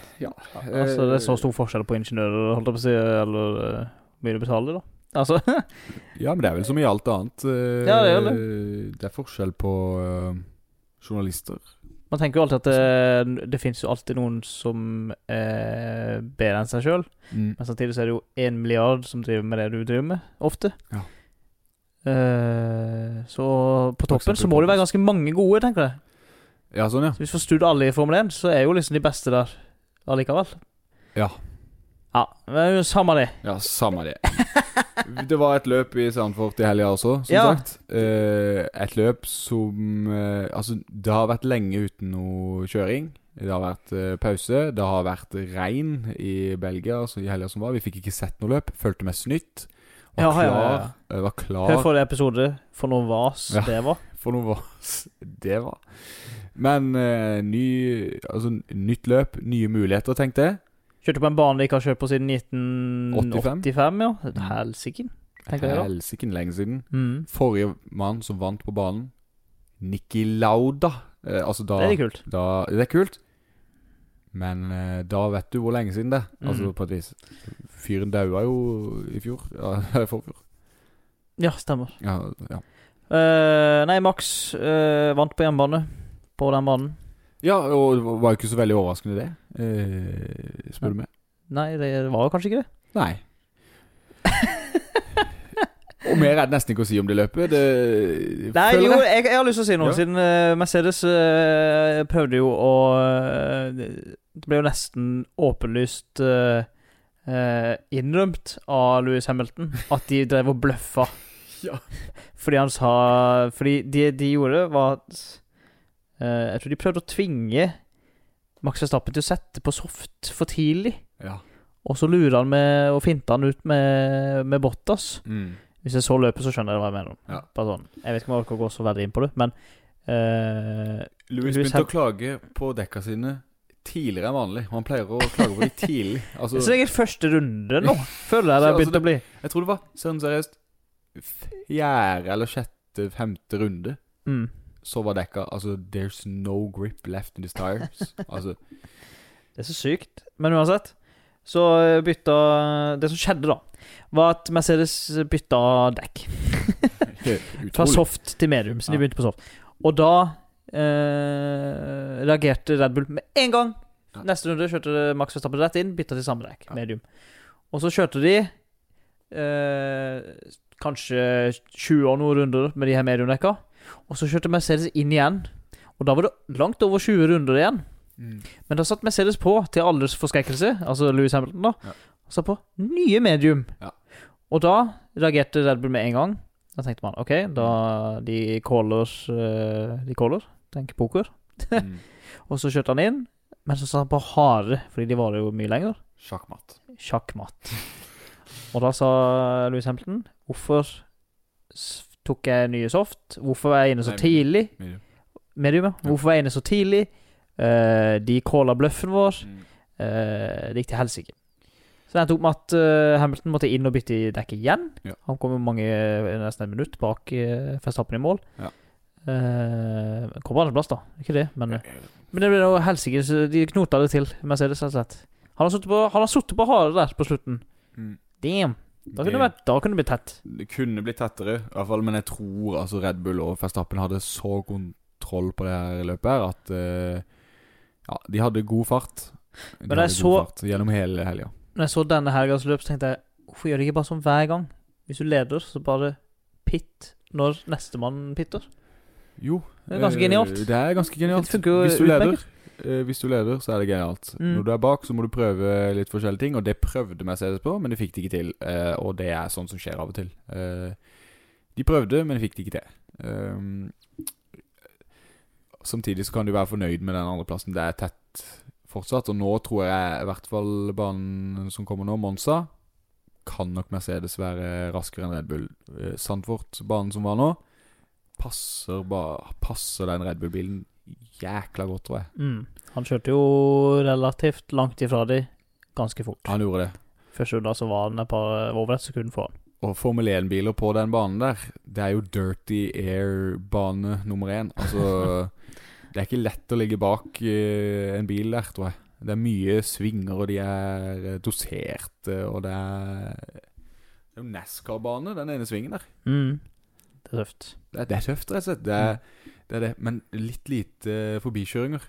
Speaker 5: Altså, det er så stor forskjell på ingeniører, holdt jeg på å si, eller eh, hvor mye du betaler, da. Altså,
Speaker 6: Ja, men det er vel som i alt annet. eh,
Speaker 5: Ja, det er
Speaker 6: det er forskjell på eh, journalister.
Speaker 5: Man tenker jo alltid at eh, det, det finnes jo alltid noen som er bedre enn seg sjøl, men samtidig så er det jo én milliard som driver med det du driver med, ofte.
Speaker 6: Ja.
Speaker 5: Eh, så på toppen
Speaker 6: eksempel
Speaker 5: så må det være
Speaker 6: Thomas.
Speaker 5: ganske mange gode, tenker jeg.
Speaker 6: Ja, sånn, ja.
Speaker 5: Så hvis vi får studd alle i Formel 1, så er jo liksom de beste der allikevel.
Speaker 6: Ja.
Speaker 5: Ja, men Samme det.
Speaker 6: Ja, samme det. Det var et løp i Sandfort i helga også, som
Speaker 5: Ja.
Speaker 6: sagt. Eh, et løp som eh, Altså, det har vært lenge uten noe kjøring. Det har vært eh, pause. Det har vært regn i Belgia altså i helga som var. Vi fikk ikke sett noe løp. Følte meg snytt. Var
Speaker 5: Ja, ja,
Speaker 6: klar,
Speaker 5: ja, ja.
Speaker 6: eh, Var
Speaker 5: Hør
Speaker 6: klar for,
Speaker 5: forrige episode, for noe vas
Speaker 6: Ja.
Speaker 5: det var.
Speaker 6: noe vas det var. Men eh, ny Altså, nytt løp, nye muligheter, tenkte jeg.
Speaker 5: Kjørte på en bane de ikke har kjørt på siden 1985, ja.
Speaker 6: Mm.
Speaker 5: Helsike. Tenker jeg da.
Speaker 6: Helsike lenge siden.
Speaker 5: Mm.
Speaker 6: Forrige mann som vant på banen, Niki Lauda. Eh, altså da,
Speaker 5: Det er litt kult.
Speaker 6: Da, det er kult, men eh, da vet du hvor lenge siden det er. Altså
Speaker 5: Mm.
Speaker 6: på et vis. Fyren daua jo i fjor. Ja, i forfjor.
Speaker 5: Ja, stemmer.
Speaker 6: Ja, ja.
Speaker 5: Eh, nei, Max eh, vant på hjemmebane. På den banen.
Speaker 6: ja, og det var jo ikke så veldig overraskende, det. Eh, spør du meg.
Speaker 5: Nei, det var jo kanskje ikke det.
Speaker 6: Nei. og mer er det nesten ikke å si om det løpet. Det
Speaker 5: Nei,
Speaker 6: føler
Speaker 5: jo,
Speaker 6: jeg.
Speaker 5: jeg, jeg har lyst til å si noe,
Speaker 6: Ja.
Speaker 5: siden eh, Mercedes eh, prøvde jo å eh, Det ble jo nesten åpenlyst eh, eh, innrømt av Louis Hamilton at de drev og bløffa.
Speaker 6: Ja.
Speaker 5: Fordi han sa Fordi det de gjorde, var at eh, Jeg tror de prøvde å tvinge Max Verstappen til å sette på soft for tidlig.
Speaker 6: Ja.
Speaker 5: Og så lurer han med og finter han ut med, med Bottas.
Speaker 6: Mm.
Speaker 5: Hvis jeg så løpet, så skjønner jeg hva jeg mener. om.
Speaker 6: Ja.
Speaker 5: Bare sånn. Jeg vet ikke om jeg orker å gå så veldig inn på det, men eh,
Speaker 6: Louis
Speaker 5: Lewis
Speaker 6: begynte
Speaker 5: Ham-
Speaker 6: å klage på dekka sine tidligere enn vanlig. Han pleier å klage på de tidlig.
Speaker 5: Det
Speaker 6: Altså,
Speaker 5: er sikkert første runde nå, føler jeg det har
Speaker 6: Altså,
Speaker 5: begynt å bli.
Speaker 6: jeg tror det var sånn seriøst fjerde eller sjette, femte runde.
Speaker 5: Mm.
Speaker 6: Så var dekka Altså, there's no grip left in these tires. Altså,
Speaker 5: Det er så sykt. Men uansett, så eh, bytta Det som skjedde, da, var at Mercedes bytta dekk. Fra
Speaker 6: Utrolig.
Speaker 5: soft til medium, så de
Speaker 6: Ja.
Speaker 5: begynte på soft. Og da eh, reagerte Red Bull med en gang.
Speaker 6: Ja.
Speaker 5: Neste runde kjørte det Max Verstappen rett inn, bytta til samme dekk,
Speaker 6: Ja.
Speaker 5: medium. Og så kjørte de eh, kanskje 20 og noen runder med de her mediumdekka. Og så kjørte Mercedes inn igjen. Og da var det langt over 20 runder igjen.
Speaker 6: Mm.
Speaker 5: Men da satt Mercedes på, til alles forskrekkelse, altså Louis Hamilton, da.
Speaker 6: Ja.
Speaker 5: Og satt på nye medium.
Speaker 6: Ja.
Speaker 5: Og da reagerte Red Bull med en gang. Da tenkte man OK, da de caller eh, De caller, tenker poker.
Speaker 6: Mm.
Speaker 5: Og så kjørte han inn, men så satt han på harde, fordi de varer jo mye lenger.
Speaker 6: Sjakkmatt.
Speaker 5: Sjakkmatt. Og da sa Louis Hamilton Hvorfor s- tok jeg nye soft? Hvorfor var jeg inne så
Speaker 6: Nei,
Speaker 5: tidlig?
Speaker 6: medium.
Speaker 5: Medium, ja.
Speaker 6: Ja.
Speaker 5: Hvorfor var jeg inne så tidlig? Eh, de calla bløffen vår.
Speaker 6: Mm.
Speaker 5: Eh, det gikk til helsike. Så det endte opp med at eh, Hamilton måtte inn og bytte i dekk igjen.
Speaker 6: Ja.
Speaker 5: Han kom jo mange, eh, nesten et minutt bak uh, Verstappen i mål.
Speaker 6: Ja.
Speaker 5: Eh, kom på andreplass, da. Ikke det, men, men det ble noe helsike. så De knota det til, Mercedes, rett og slett. Han har sittet på, han har suttet på harde der på slutten.
Speaker 6: Mm.
Speaker 5: Damn! Da kunne det
Speaker 6: Det-
Speaker 5: vært, da kunne det blitt tett.
Speaker 6: Det kunne blitt tettere, i hvert fall, men jeg tror altså Red Bull og Verstappen hadde så kontroll på det her løpet her at eh, Ja, de hadde god fart. De
Speaker 5: Men jeg
Speaker 6: hadde god
Speaker 5: så-
Speaker 6: fart gjennom hele helga.
Speaker 5: Når jeg så denne helgas løp, så tenkte jeg hvorfor gjør de ikke bare sånn hver gang? Hvis du leder, så bare pit når nestemann pitter.
Speaker 6: Jo.
Speaker 5: Det er ganske
Speaker 6: eh,
Speaker 5: genialt.
Speaker 6: Det er ganske genialt.
Speaker 5: Det funker jo
Speaker 6: hvis, du leder,
Speaker 5: utmerket.
Speaker 6: eh, hvis du leder, så er det genialt.
Speaker 5: Mm.
Speaker 6: Når du er bak, så må du prøve litt forskjellige ting, og det prøvde Mercedes på, men det fikk de ikke til. Eh, og det er sånn som skjer av og til. Eh, de prøvde, men fikk det ikke til. Um, samtidig så kan du være fornøyd med den andreplassen. Det er tett fortsatt, og nå tror jeg i hvert fall banen som kommer nå, Monza kan nok Mercedes være raskere enn Red Bull. Eh, Sandfort, banen som var nå, passer, ba, passer den Red Bull-bilen jækla godt, tror jeg.
Speaker 5: Mm. Han kjørte jo relativt langt ifra de ganske fort.
Speaker 6: Han gjorde det.
Speaker 5: Første runde så var han et par eh, over et sekund foran.
Speaker 6: Og Formel 1-biler på den banen der, det er jo dirty air-bane nummer én. Altså Det er ikke lett å ligge bak eh, en bil der, tror jeg. Det er mye svinger, og de er eh, doserte, og det er Det er jo NASCAR-bane, den ene svingen der.
Speaker 5: Mm. Det er tøft.
Speaker 6: Det er, det er tøft, rett og slett. Det er, det er det. Men litt lite eh, forbikjøringer.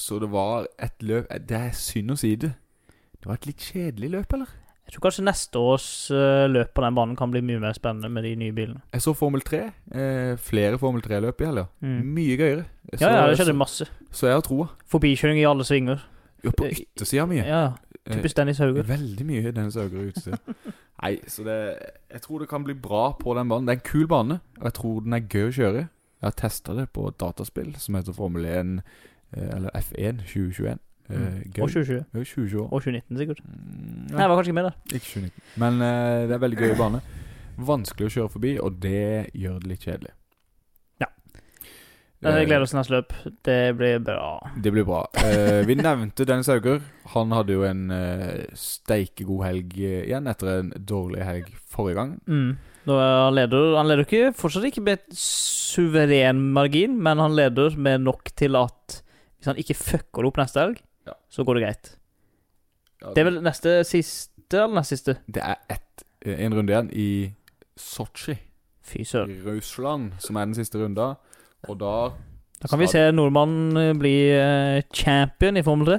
Speaker 6: Så det var et løp eh, Det er synd å si det. Det var et litt kjedelig løp, eller?
Speaker 5: Jeg tror kanskje neste års eh, løp på den banen kan bli mye mer spennende med de nye bilene.
Speaker 6: Jeg så Formel 3. Eh, flere Formel 3-løp i helga.
Speaker 5: Mm.
Speaker 6: Mye gøyere.
Speaker 5: Ja, ja, det
Speaker 6: så,
Speaker 5: skjedde masse.
Speaker 6: så jeg har troa.
Speaker 5: Forbikjøring i alle svinger.
Speaker 6: Jo, På yttersida mye.
Speaker 5: Eh, Ja,
Speaker 6: Eh,
Speaker 5: Typisk Dennis Hauger.
Speaker 6: Veldig mye den som øker utstyr. Nei, så det Jeg tror det kan bli bra på den banen. Det er en kul bane, og jeg tror den er gøy å kjøre. Jeg har testa det på et dataspill som heter Formel 1 eh, Eller F1 2021. Eh,
Speaker 5: Mm.
Speaker 6: gøy.
Speaker 5: Og 2020.
Speaker 6: Det er jo 20 år.
Speaker 5: Og 2019, sikkert.
Speaker 6: Mm,
Speaker 5: Nei, jeg var kanskje ikke med der.
Speaker 6: ikke 2019. Men eh, det er veldig gøy bane. Vanskelig å kjøre forbi, og det gjør det litt kjedelig.
Speaker 5: Ja.
Speaker 6: Eh,
Speaker 5: Jeg gleder oss til neste løp. Det blir bra.
Speaker 6: Det blir bra. Eh, vi nevnte Dennis Hauger. Han hadde jo en eh, steikegod helg eh, igjen etter en dårlig helg forrige gang.
Speaker 5: Mm. Nå er han leder Han leder ikke fortsatt ikke med et suveren margin, men han leder med nok til at hvis han ikke fucker opp neste helg,
Speaker 6: Ja.
Speaker 5: så går det greit. Det er vel neste siste eller neste siste?
Speaker 6: Det er ett, eh, en runde igjen i Sotsji,
Speaker 5: Fy søren.
Speaker 6: i Russland, som er den siste runda. Og da
Speaker 5: Da kan vi se nordmannen eh, bli eh, champion i Formel 3.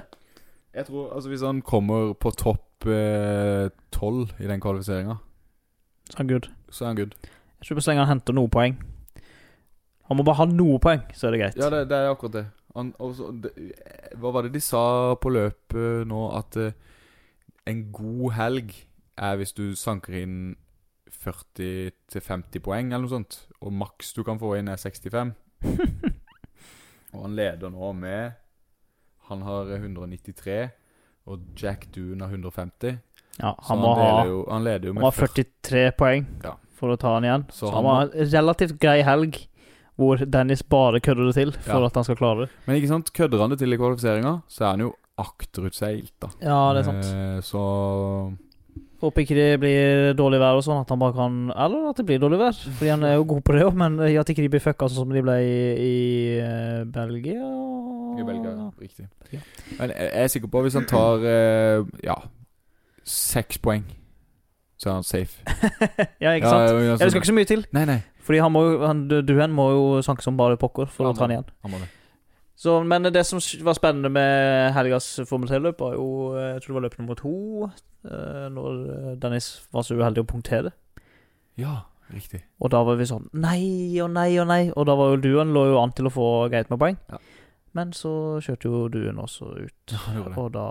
Speaker 6: Jeg tror altså Hvis han kommer på topp eh, tolv i den kvalifiseringa,
Speaker 5: Så han good.
Speaker 6: så er han good.
Speaker 5: Jeg tror så lenge han henter noen poeng. Han må bare ha noe poeng, så er det greit.
Speaker 6: Ja, det, det er akkurat det. Han, og så- det. Hva var det de sa på løpet nå? At eh, en god helg er hvis du sanker inn 40-50 poeng, eller noe sånt. Og maks du kan få inn, er 65. og han leder nå med Han har 193, og Jack Doon har 150.
Speaker 5: Ja,
Speaker 6: Så
Speaker 5: han, må ha,
Speaker 6: deler jo, han leder jo
Speaker 5: han
Speaker 6: med
Speaker 5: må ha 43 poeng
Speaker 6: Ja.
Speaker 5: for å ta han igjen.
Speaker 6: Så
Speaker 5: Så,
Speaker 6: han
Speaker 5: han må ha en relativt grei helg hvor Dennis bare kødder det til for
Speaker 6: Ja.
Speaker 5: at han skal klare det.
Speaker 6: Men ikke sant, kødder han det til i kvalifiseringa, så er han jo akterutseilt, da.
Speaker 5: Ja, det er sant.
Speaker 6: Eh, så
Speaker 5: Håper ikke det blir dårlig vær og sånn at han bare kan Eller at det blir dårlig vær, Fordi han er jo god på det òg, men eh, at ikke de blir fucka sånn som de ble i, i eh, Belgia
Speaker 6: I Belgia, ja. riktig.
Speaker 5: Ja.
Speaker 6: Men jeg jeg er sikker på at hvis han tar eh, ja seks poeng, så er han safe.
Speaker 5: ja, ikke sant?
Speaker 6: Ja, ja,
Speaker 5: Ja, det skal ikke så mye til.
Speaker 6: Nei, nei.
Speaker 5: Fordi han må jo, han, duen må jo sanke som bare pokker for
Speaker 6: Ja,
Speaker 5: å ta han igjen.
Speaker 6: Han må det.
Speaker 5: Så, men det som var spennende med helgas Formel 3-løp, var jo eh, Jeg tror det var løp nummer to, eh, når eh, Dennis var så uheldig å punktere.
Speaker 6: Ja, riktig.
Speaker 5: Og da var vi sånn Nei og nei og nei. Og da var jo duen lå jo an til å få greit med poeng.
Speaker 6: Ja.
Speaker 5: Men så kjørte jo duen også ut,
Speaker 6: Ja, han gjorde det.
Speaker 5: og da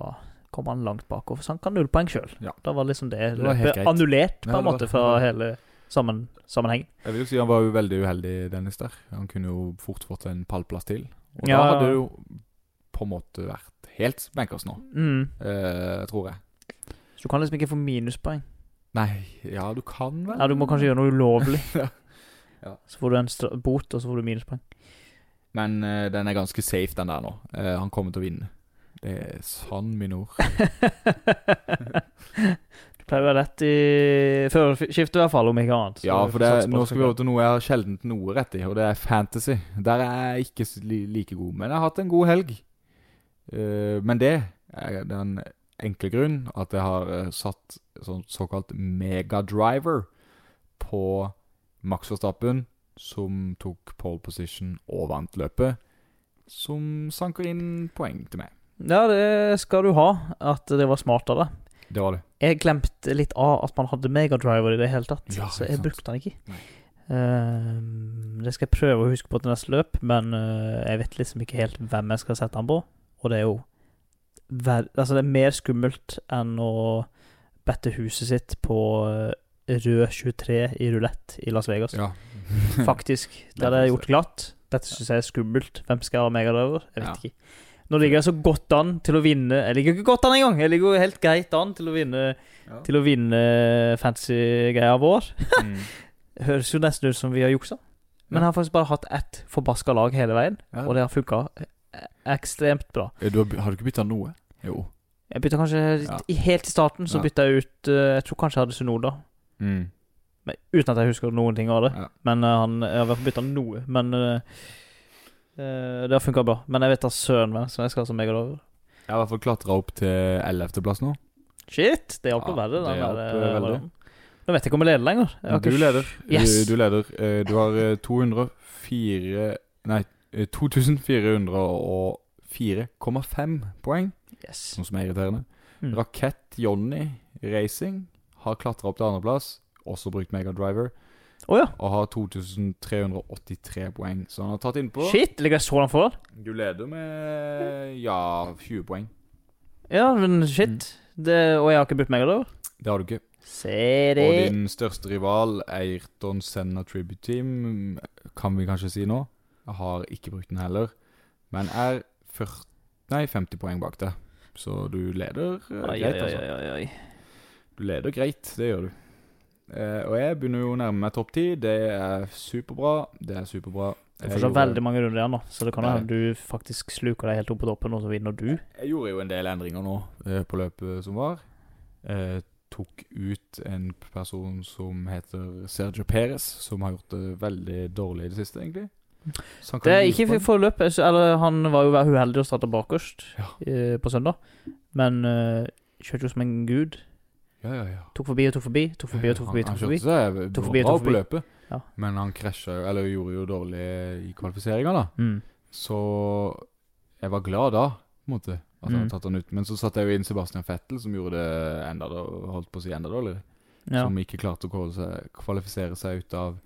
Speaker 5: kom han langt bak. Og sank han null poeng sjøl.
Speaker 6: Ja.
Speaker 5: Da var liksom det
Speaker 6: Det var helt
Speaker 5: løpet
Speaker 6: greit.
Speaker 5: annullert, på
Speaker 6: Ja,
Speaker 5: en
Speaker 6: det var-
Speaker 5: måte, fra hele sammen, sammenhengen.
Speaker 6: Jeg vil jo si han var jo veldig uheldig, Dennis, der. Han kunne jo fort fått en pallplass til. Og da
Speaker 5: Ja.
Speaker 6: hadde det jo på en måte vært helt bankers nå,
Speaker 5: Mm.
Speaker 6: eh, tror jeg.
Speaker 5: Så du kan liksom ikke få minuspoeng.
Speaker 6: Nei, ja, du kan vel
Speaker 5: Ja, du må kanskje gjøre noe ulovlig.
Speaker 6: Ja. Ja.
Speaker 5: Så får du en stra bot, og så får du minuspoeng.
Speaker 6: Men eh, den er ganske safe, den der nå. Eh, han kommer til å vinne. Det er sann mine ord.
Speaker 5: du pleier å være rett i førerskiftet, i hvert fall, om ikke annet. Så
Speaker 6: Ja, for det,
Speaker 5: satser på
Speaker 6: nå
Speaker 5: at
Speaker 6: skal vi over til noe jeg har sjelden noe rett i, og det er fantasy. Der er jeg ikke s- li- like god, men jeg har hatt en god helg. Eh, men det er den enkle grunnen at jeg har eh, satt sånn såkalt megadriver på Max Verstappen, som tok pole position og vant løpet, som sanker inn poeng til meg.
Speaker 5: Ja, det skal du ha, at det var smart av deg.
Speaker 6: Det var det.
Speaker 5: Jeg glemte litt av at man hadde megadriver i det hele tatt,
Speaker 6: Ja,
Speaker 5: så
Speaker 6: ikke
Speaker 5: jeg
Speaker 6: sant.
Speaker 5: brukte den ikke.
Speaker 6: Nei.
Speaker 5: Ehm, det skal jeg prøve å huske på til neste løp, men eh, jeg vet liksom ikke helt hvem jeg skal sette den på. Og det er jo ver Altså, det er mer skummelt enn å bette huset sitt på eh, rød 23 i rulett i Las Vegas.
Speaker 6: Ja.
Speaker 5: Faktisk. Det hadde jeg gjort glatt. Dette syns jeg er skummelt. Hvem skal ha megadriver? Jeg vet
Speaker 6: Ja.
Speaker 5: ikke. Nå ligger jeg så godt an til å vinne Jeg ligger ikke godt an engang! Jeg ligger jo helt greit an til å vinne
Speaker 6: Ja.
Speaker 5: Til å vinne fancy-greia vår.
Speaker 6: Mm.
Speaker 5: Høres jo nesten ut som vi har juksa, men
Speaker 6: Ja.
Speaker 5: jeg har faktisk bare hatt ett forbaska lag hele veien,
Speaker 6: Ja.
Speaker 5: og det har funka ekstremt bra.
Speaker 6: Eh, Du har, by- har du ikke bytta noe? Jo.
Speaker 5: Jeg bytta kanskje
Speaker 6: Ja.
Speaker 5: i- Helt i starten så
Speaker 6: Ja.
Speaker 5: bytta jeg ut eh, Jeg tror kanskje jeg hadde Sunoda,
Speaker 6: Mm.
Speaker 5: men, uten at jeg husker noen ting av det.
Speaker 6: Ja.
Speaker 5: Men eh, han Jeg har i hvert fall bytta noe. Men eh, eh, det har funka bra. Men jeg vet da søren hvem som jeg skal som megadover.
Speaker 6: Jeg har i hvert fall klatra opp til 11.-plass nå.
Speaker 5: Shit! Det hjalp
Speaker 6: Ja,
Speaker 5: å være
Speaker 6: det hjalp,
Speaker 5: det.
Speaker 6: eh, veldig.
Speaker 5: Nå vet jeg ikke om jeg leder lenger. Jeg har
Speaker 6: Du
Speaker 5: ikke-
Speaker 6: leder.
Speaker 5: Yes.
Speaker 6: Du, du leder. Eh, Du har eh, 204 Nei, eh, 2404,5 poeng,
Speaker 5: Yes.
Speaker 6: noe som er irriterende.
Speaker 5: Mm.
Speaker 6: Rakett Johnny Racing har klatra opp til andreplass, også brukt Megadriver,
Speaker 5: Å ja.
Speaker 6: og har 2383 poeng. Så han har tatt innpå.
Speaker 5: Shit! Ligger jeg så langt foran?
Speaker 6: Du leder med ja, 20 poeng.
Speaker 5: Ja, men shit.
Speaker 6: Mm.
Speaker 5: Det, og jeg har ikke brukt megadover?
Speaker 6: Det har du ikke.
Speaker 5: Se det.
Speaker 6: Og din største rival, Ayrton Senna Tribute Team, kan vi kanskje si nå. Jeg har ikke brukt den heller, men er 40, nei, 50 poeng bak deg. Så du leder eh,
Speaker 5: Oi, oi,
Speaker 6: greit,
Speaker 5: oi,
Speaker 6: altså.
Speaker 5: oi, oi.
Speaker 6: Du leder greit, det gjør du. Eh, og jeg begynner jo å nærme meg topp 10. Det er superbra. Det er superbra.
Speaker 5: Det er
Speaker 6: Jeg
Speaker 5: fortsatt
Speaker 6: gjorde-
Speaker 5: veldig mange runder igjen, nå, så det kan jo
Speaker 6: Det er
Speaker 5: hende du faktisk sluker deg helt opp på toppen, og så vinner du.
Speaker 6: Jeg gjorde jo en del endringer nå eh, på løpet som var. Eh, tok ut en person som heter Sergio Perez, som har gjort det veldig dårlig i det siste, egentlig. Så han kan
Speaker 5: Det er
Speaker 6: jo
Speaker 5: ikke
Speaker 6: vise på
Speaker 5: for løpet. så- Eller han var jo uheldig og starta bakerst eh, på søndag, men eh, kjørte jo som en gud.
Speaker 6: den. Ja, ja, ja.
Speaker 5: Tok forbi og tok forbi, tok forbi og tok forbi.
Speaker 6: Han,
Speaker 5: tok
Speaker 6: han
Speaker 5: forbi.
Speaker 6: kjørte seg eh,
Speaker 5: Tok forbi,
Speaker 6: bra
Speaker 5: tok
Speaker 6: på
Speaker 5: forbi.
Speaker 6: løpet,
Speaker 5: Ja.
Speaker 6: men han krasja jo, eller gjorde jo dårlig i kvalifiseringa, da.
Speaker 5: Mm.
Speaker 6: Så jeg var glad da, på en måte, at han
Speaker 5: Mm.
Speaker 6: hadde tatt han ut. Men så satte jeg jo inn Sebastian Vettel, som gjorde det enda, dår- holdt på å si enda dårligere.
Speaker 5: Ja.
Speaker 6: som ikke klarte å kåle seg, kvalifisere seg ut av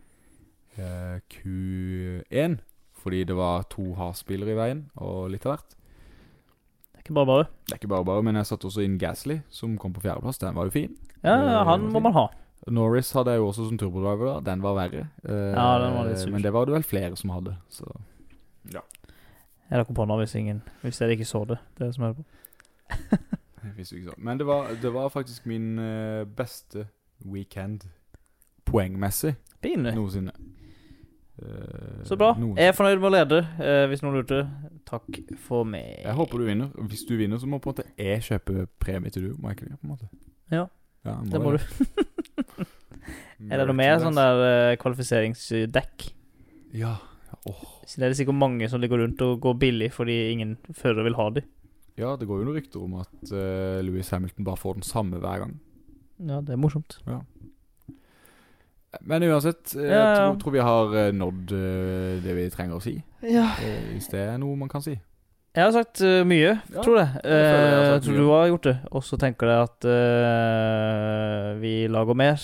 Speaker 6: eh, Q1 fordi det var to Haas-biler i veien og litt av hvert.
Speaker 5: Det er ikke bare bare.
Speaker 6: Det er ikke bare bare, men jeg satte også inn Gasly, som kom på fjerdeplass. Den var jo fin.
Speaker 5: Ja, han må man ha.
Speaker 6: Norris hadde jeg jo også som turbodriver. da, Den var verre. Eh,
Speaker 5: Ja, den var litt sur.
Speaker 6: Men det var det vel flere som hadde. Så.
Speaker 5: Jeg rakk opp hånda hvis ingen Hvis dere ikke så det, dere som hører på.
Speaker 6: Jeg visste jo ikke så. Men det var, det var faktisk min eh, beste weekend poengmessig
Speaker 5: Begynne.
Speaker 6: noensinne. Eh,
Speaker 5: Så bra.
Speaker 6: noensinne.
Speaker 5: Jeg er fornøyd med å lede, eh, hvis noen lurte. Takk for meg.
Speaker 6: Jeg håper du vinner. Hvis du vinner, så må på en måte jeg kjøpe premie til du, må jeg ikke det? på en måte?
Speaker 5: Ja,
Speaker 6: Ja, jeg
Speaker 5: det må du. sånn Er det noe mer sånn der eh, kvalifiseringsdekk?
Speaker 6: Ja. ja Åh,
Speaker 5: Så det er det sikkert mange som ligger rundt og går billig fordi ingen fører vil ha dem.
Speaker 6: Ja, det går jo noen rykter om at eh, Lewis Hamilton bare får den samme hver gang.
Speaker 5: Ja, det er morsomt.
Speaker 6: Men uansett, eh, jeg
Speaker 5: Ja, ja.
Speaker 6: tror, tror vi har eh, nådd eh, det vi trenger å si.
Speaker 5: Ja.
Speaker 6: Eh, Hvis det er noe man kan si.
Speaker 5: Jeg har sagt eh, mye,
Speaker 6: Ja,
Speaker 5: tror jeg.
Speaker 6: føler jeg har
Speaker 5: Eh,
Speaker 6: sagt
Speaker 5: tror
Speaker 6: mye.
Speaker 5: du har gjort det. Og så tenker jeg at eh, vi lager mer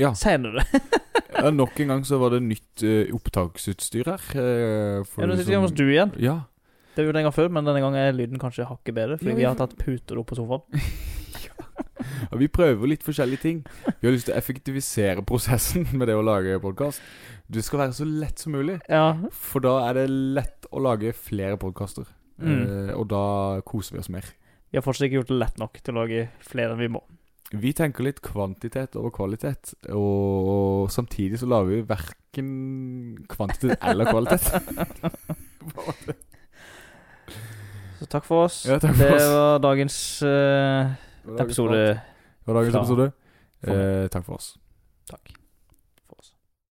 Speaker 6: Ja.
Speaker 5: senere.
Speaker 6: Ja, nok en gang så var det nytt eh, opptaksutstyr her. eh, for
Speaker 5: Ja, nå
Speaker 6: du
Speaker 5: sitter vi hos
Speaker 6: som-
Speaker 5: du igjen.
Speaker 6: Ja.
Speaker 5: Det gjorde jeg en gang før, men denne gangen er lyden kanskje hakket bedre. Fordi
Speaker 6: Ja,
Speaker 5: vi
Speaker 6: vi
Speaker 5: har
Speaker 6: får-
Speaker 5: tatt puter opp på sofaen.
Speaker 6: ja, vi prøver litt forskjellige ting. Vi har lyst til å effektivisere prosessen med det å lage podkast. Det skal være så lett som mulig,
Speaker 5: Ja.
Speaker 6: for da er det lett å lage flere podkaster.
Speaker 5: Mm.
Speaker 6: Eh, og da koser vi oss mer.
Speaker 5: Vi har fortsatt ikke gjort det lett nok til å lage flere enn vi må.
Speaker 6: Vi tenker litt kvantitet over kvalitet, og samtidig så lager vi verken kvantitet eller kvalitet.
Speaker 5: Så takk for oss.
Speaker 6: Ja, takk for
Speaker 5: det
Speaker 6: oss.
Speaker 5: var dagens eh, episode.
Speaker 6: Det var dagens
Speaker 5: Fra-
Speaker 6: episode. Eh, takk for oss.
Speaker 5: Takk.